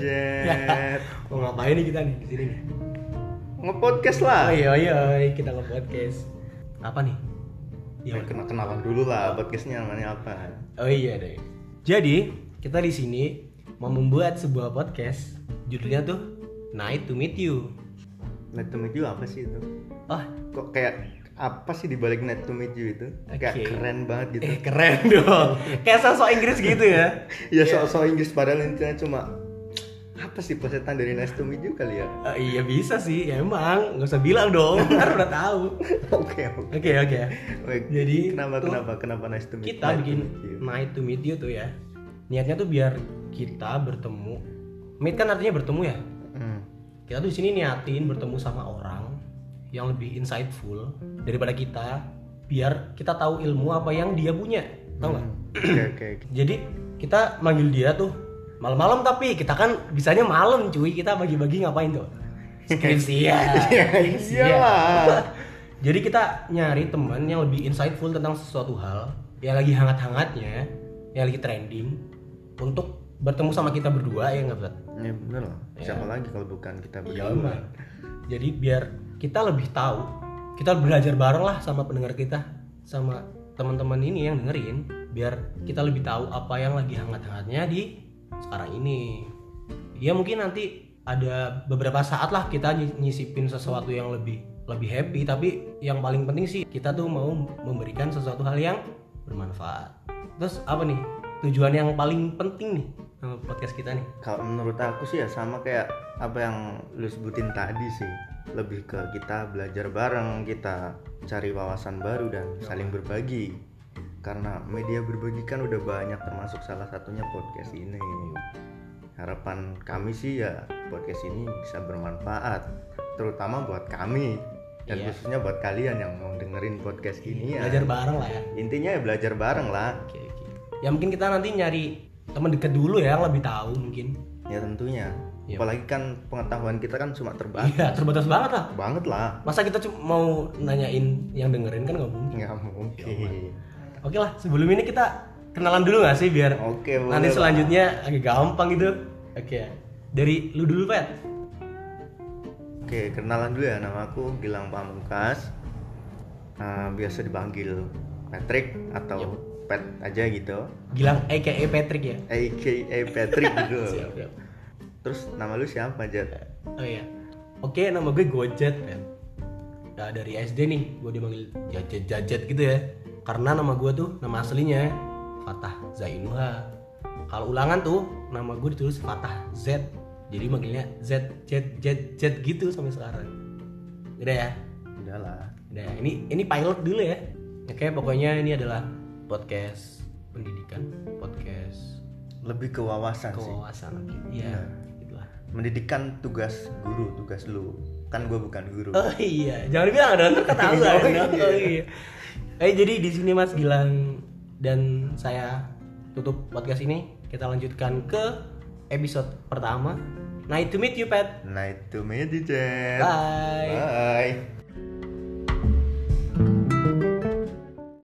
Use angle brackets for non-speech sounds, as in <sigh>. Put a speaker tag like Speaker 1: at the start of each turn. Speaker 1: Ya.
Speaker 2: Jet.
Speaker 1: Mau ngapain nih kita nih di sini nih?
Speaker 2: Ngepodcast lah.
Speaker 1: Oh iya iya kita nge podcast. Apa nih? Iya.
Speaker 2: Ya, kena kenalan dulu lah podcastnya namanya apa.
Speaker 1: Oh iya deh. Jadi kita di sini mau membuat sebuah podcast. Judulnya tuh Night to Meet You.
Speaker 2: Net to meet you apa sih itu?
Speaker 1: Oh,
Speaker 2: Kok kayak apa sih dibalik net to meet you itu? Kayak
Speaker 1: Oke.
Speaker 2: keren banget gitu.
Speaker 1: eh keren <laughs> dong. Kayak sosok Inggris gitu ya.
Speaker 2: ya soal-soal Inggris padahal intinya cuma apa sih plesetan dari net to meet you kali ya?
Speaker 1: <laughs>
Speaker 2: <laughs>
Speaker 1: Eh, iya bisa sih, ya emang nggak usah bilang <laughs> dong, ntar udah tahu.
Speaker 2: Oke oke.
Speaker 1: Oke oke.
Speaker 2: Baik.
Speaker 1: Jadi
Speaker 2: kenapa
Speaker 1: tuh
Speaker 2: kenapa kenapa nice to meet
Speaker 1: kita
Speaker 2: nice to
Speaker 1: bikin
Speaker 2: meet you?
Speaker 1: night to meet you tuh ya. Niatnya tuh biar kita bertemu. Meet kan artinya bertemu ya.
Speaker 2: Hmm.
Speaker 1: Kita tuh di sini niatin bertemu sama orang yang lebih insightful daripada kita, biar kita tahu ilmu apa yang dia punya, tahu
Speaker 2: Hmm.
Speaker 1: nggak?
Speaker 2: Oke oke oke.
Speaker 1: Jadi kita manggil dia tuh malam-malam tapi kita kan bisanya malam cuy kita bagi-bagi ngapain tuh? Skripsian. ya.
Speaker 2: Iyalah.
Speaker 1: <laughs> Jadi kita nyari teman yang lebih insightful tentang sesuatu hal yang lagi hangat-hangatnya, yang lagi trending untuk bertemu sama kita berdua ya nggak Bud?
Speaker 2: Ya bener lah. Siapa lagi kalau bukan kita
Speaker 1: Iya,
Speaker 2: berdua?
Speaker 1: Bang. Jadi biar kita lebih tahu, kita belajar bareng lah sama pendengar kita, sama teman-teman ini yang dengerin, biar kita lebih tahu apa yang lagi hangat-hangatnya di sekarang ini. Ya mungkin nanti ada beberapa saat lah kita ny- nyisipin sesuatu yang lebih lebih happy, tapi yang paling penting sih kita tuh mau memberikan sesuatu hal yang bermanfaat. Terus apa nih tujuan yang paling penting nih sama podcast kita nih?
Speaker 2: Kalau menurut aku sih ya sama kayak apa yang lu sebutin tadi sih. Lebih ke kita belajar bareng, kita cari wawasan baru dan
Speaker 1: Iya,
Speaker 2: saling berbagi. Karena media berbagi kan udah banyak termasuk salah satunya podcast ini. Harapan kami sih ya podcast ini bisa bermanfaat terutama buat kami dan
Speaker 1: Iya.
Speaker 2: khususnya buat kalian yang mau dengerin podcast ini ya.
Speaker 1: Belajar bareng lah ya.
Speaker 2: Intinya ya belajar bareng lah.
Speaker 1: Oke oke. Ya mungkin kita nanti nyari teman dekat dulu ya yang lebih tahu mungkin.
Speaker 2: Ya tentunya.
Speaker 1: Iya.
Speaker 2: Apalagi kan pengetahuan kita kan cuma terbatas
Speaker 1: Iya terbatas banget lah.
Speaker 2: banget lah.
Speaker 1: Masa kita cuma mau nanyain yang dengerin kan nggak mungkin.
Speaker 2: Nggak
Speaker 1: Ya
Speaker 2: mungkin.
Speaker 1: Oke lah sebelum ini kita kenalan dulu nggak sih biar
Speaker 2: Oke, boleh
Speaker 1: nanti
Speaker 2: lah.
Speaker 1: selanjutnya agak gampang gitu. Oke dari lu dulu Pet.
Speaker 2: Oke, kenalan dulu ya. Nama aku Gilang Pamungkas. Eh, biasa dipanggil Patrick atau
Speaker 1: Ya.
Speaker 2: Pet aja gitu.
Speaker 1: Gilang EKE Patrick ya.
Speaker 2: AKA
Speaker 1: <laughs>
Speaker 2: Patrick gitu.
Speaker 1: Siap, siap.
Speaker 2: Terus nama lu siapa, Jat?
Speaker 1: Oh iya. Oke nama gue Gojet Pet. Nah, dari SD nih gue dipanggil Jajet Jajet gitu ya. Karena nama gue tuh nama aslinya Fatah Zainuha. Kalau ulangan tuh nama gue ditulis Fatah Z. Jadi manggilnya Z Z Z Z gitu sampai sekarang. Udah ya.
Speaker 2: Udah lah.
Speaker 1: Udah ya. Ini ini pilot dulu ya. Oke pokoknya ini adalah podcast pendidikan, podcast
Speaker 2: Lebih ke wawasan sih.
Speaker 1: kewawasan. Iya. Gitulah.
Speaker 2: Mendidikan tugas guru, tugas lu. Kan gue bukan guru.
Speaker 1: Oh iya, jangan bilang ada ntar ketahuan.
Speaker 2: Oh iya.
Speaker 1: Oh iya. Eh jadi di sini Mas Gilang dan saya tutup podcast ini. Kita lanjutkan ke episode
Speaker 2: Nah,
Speaker 1: pertama. Nice to meet you, Pat.
Speaker 2: Night to meet you, Jat.
Speaker 1: Bye.
Speaker 2: Bye.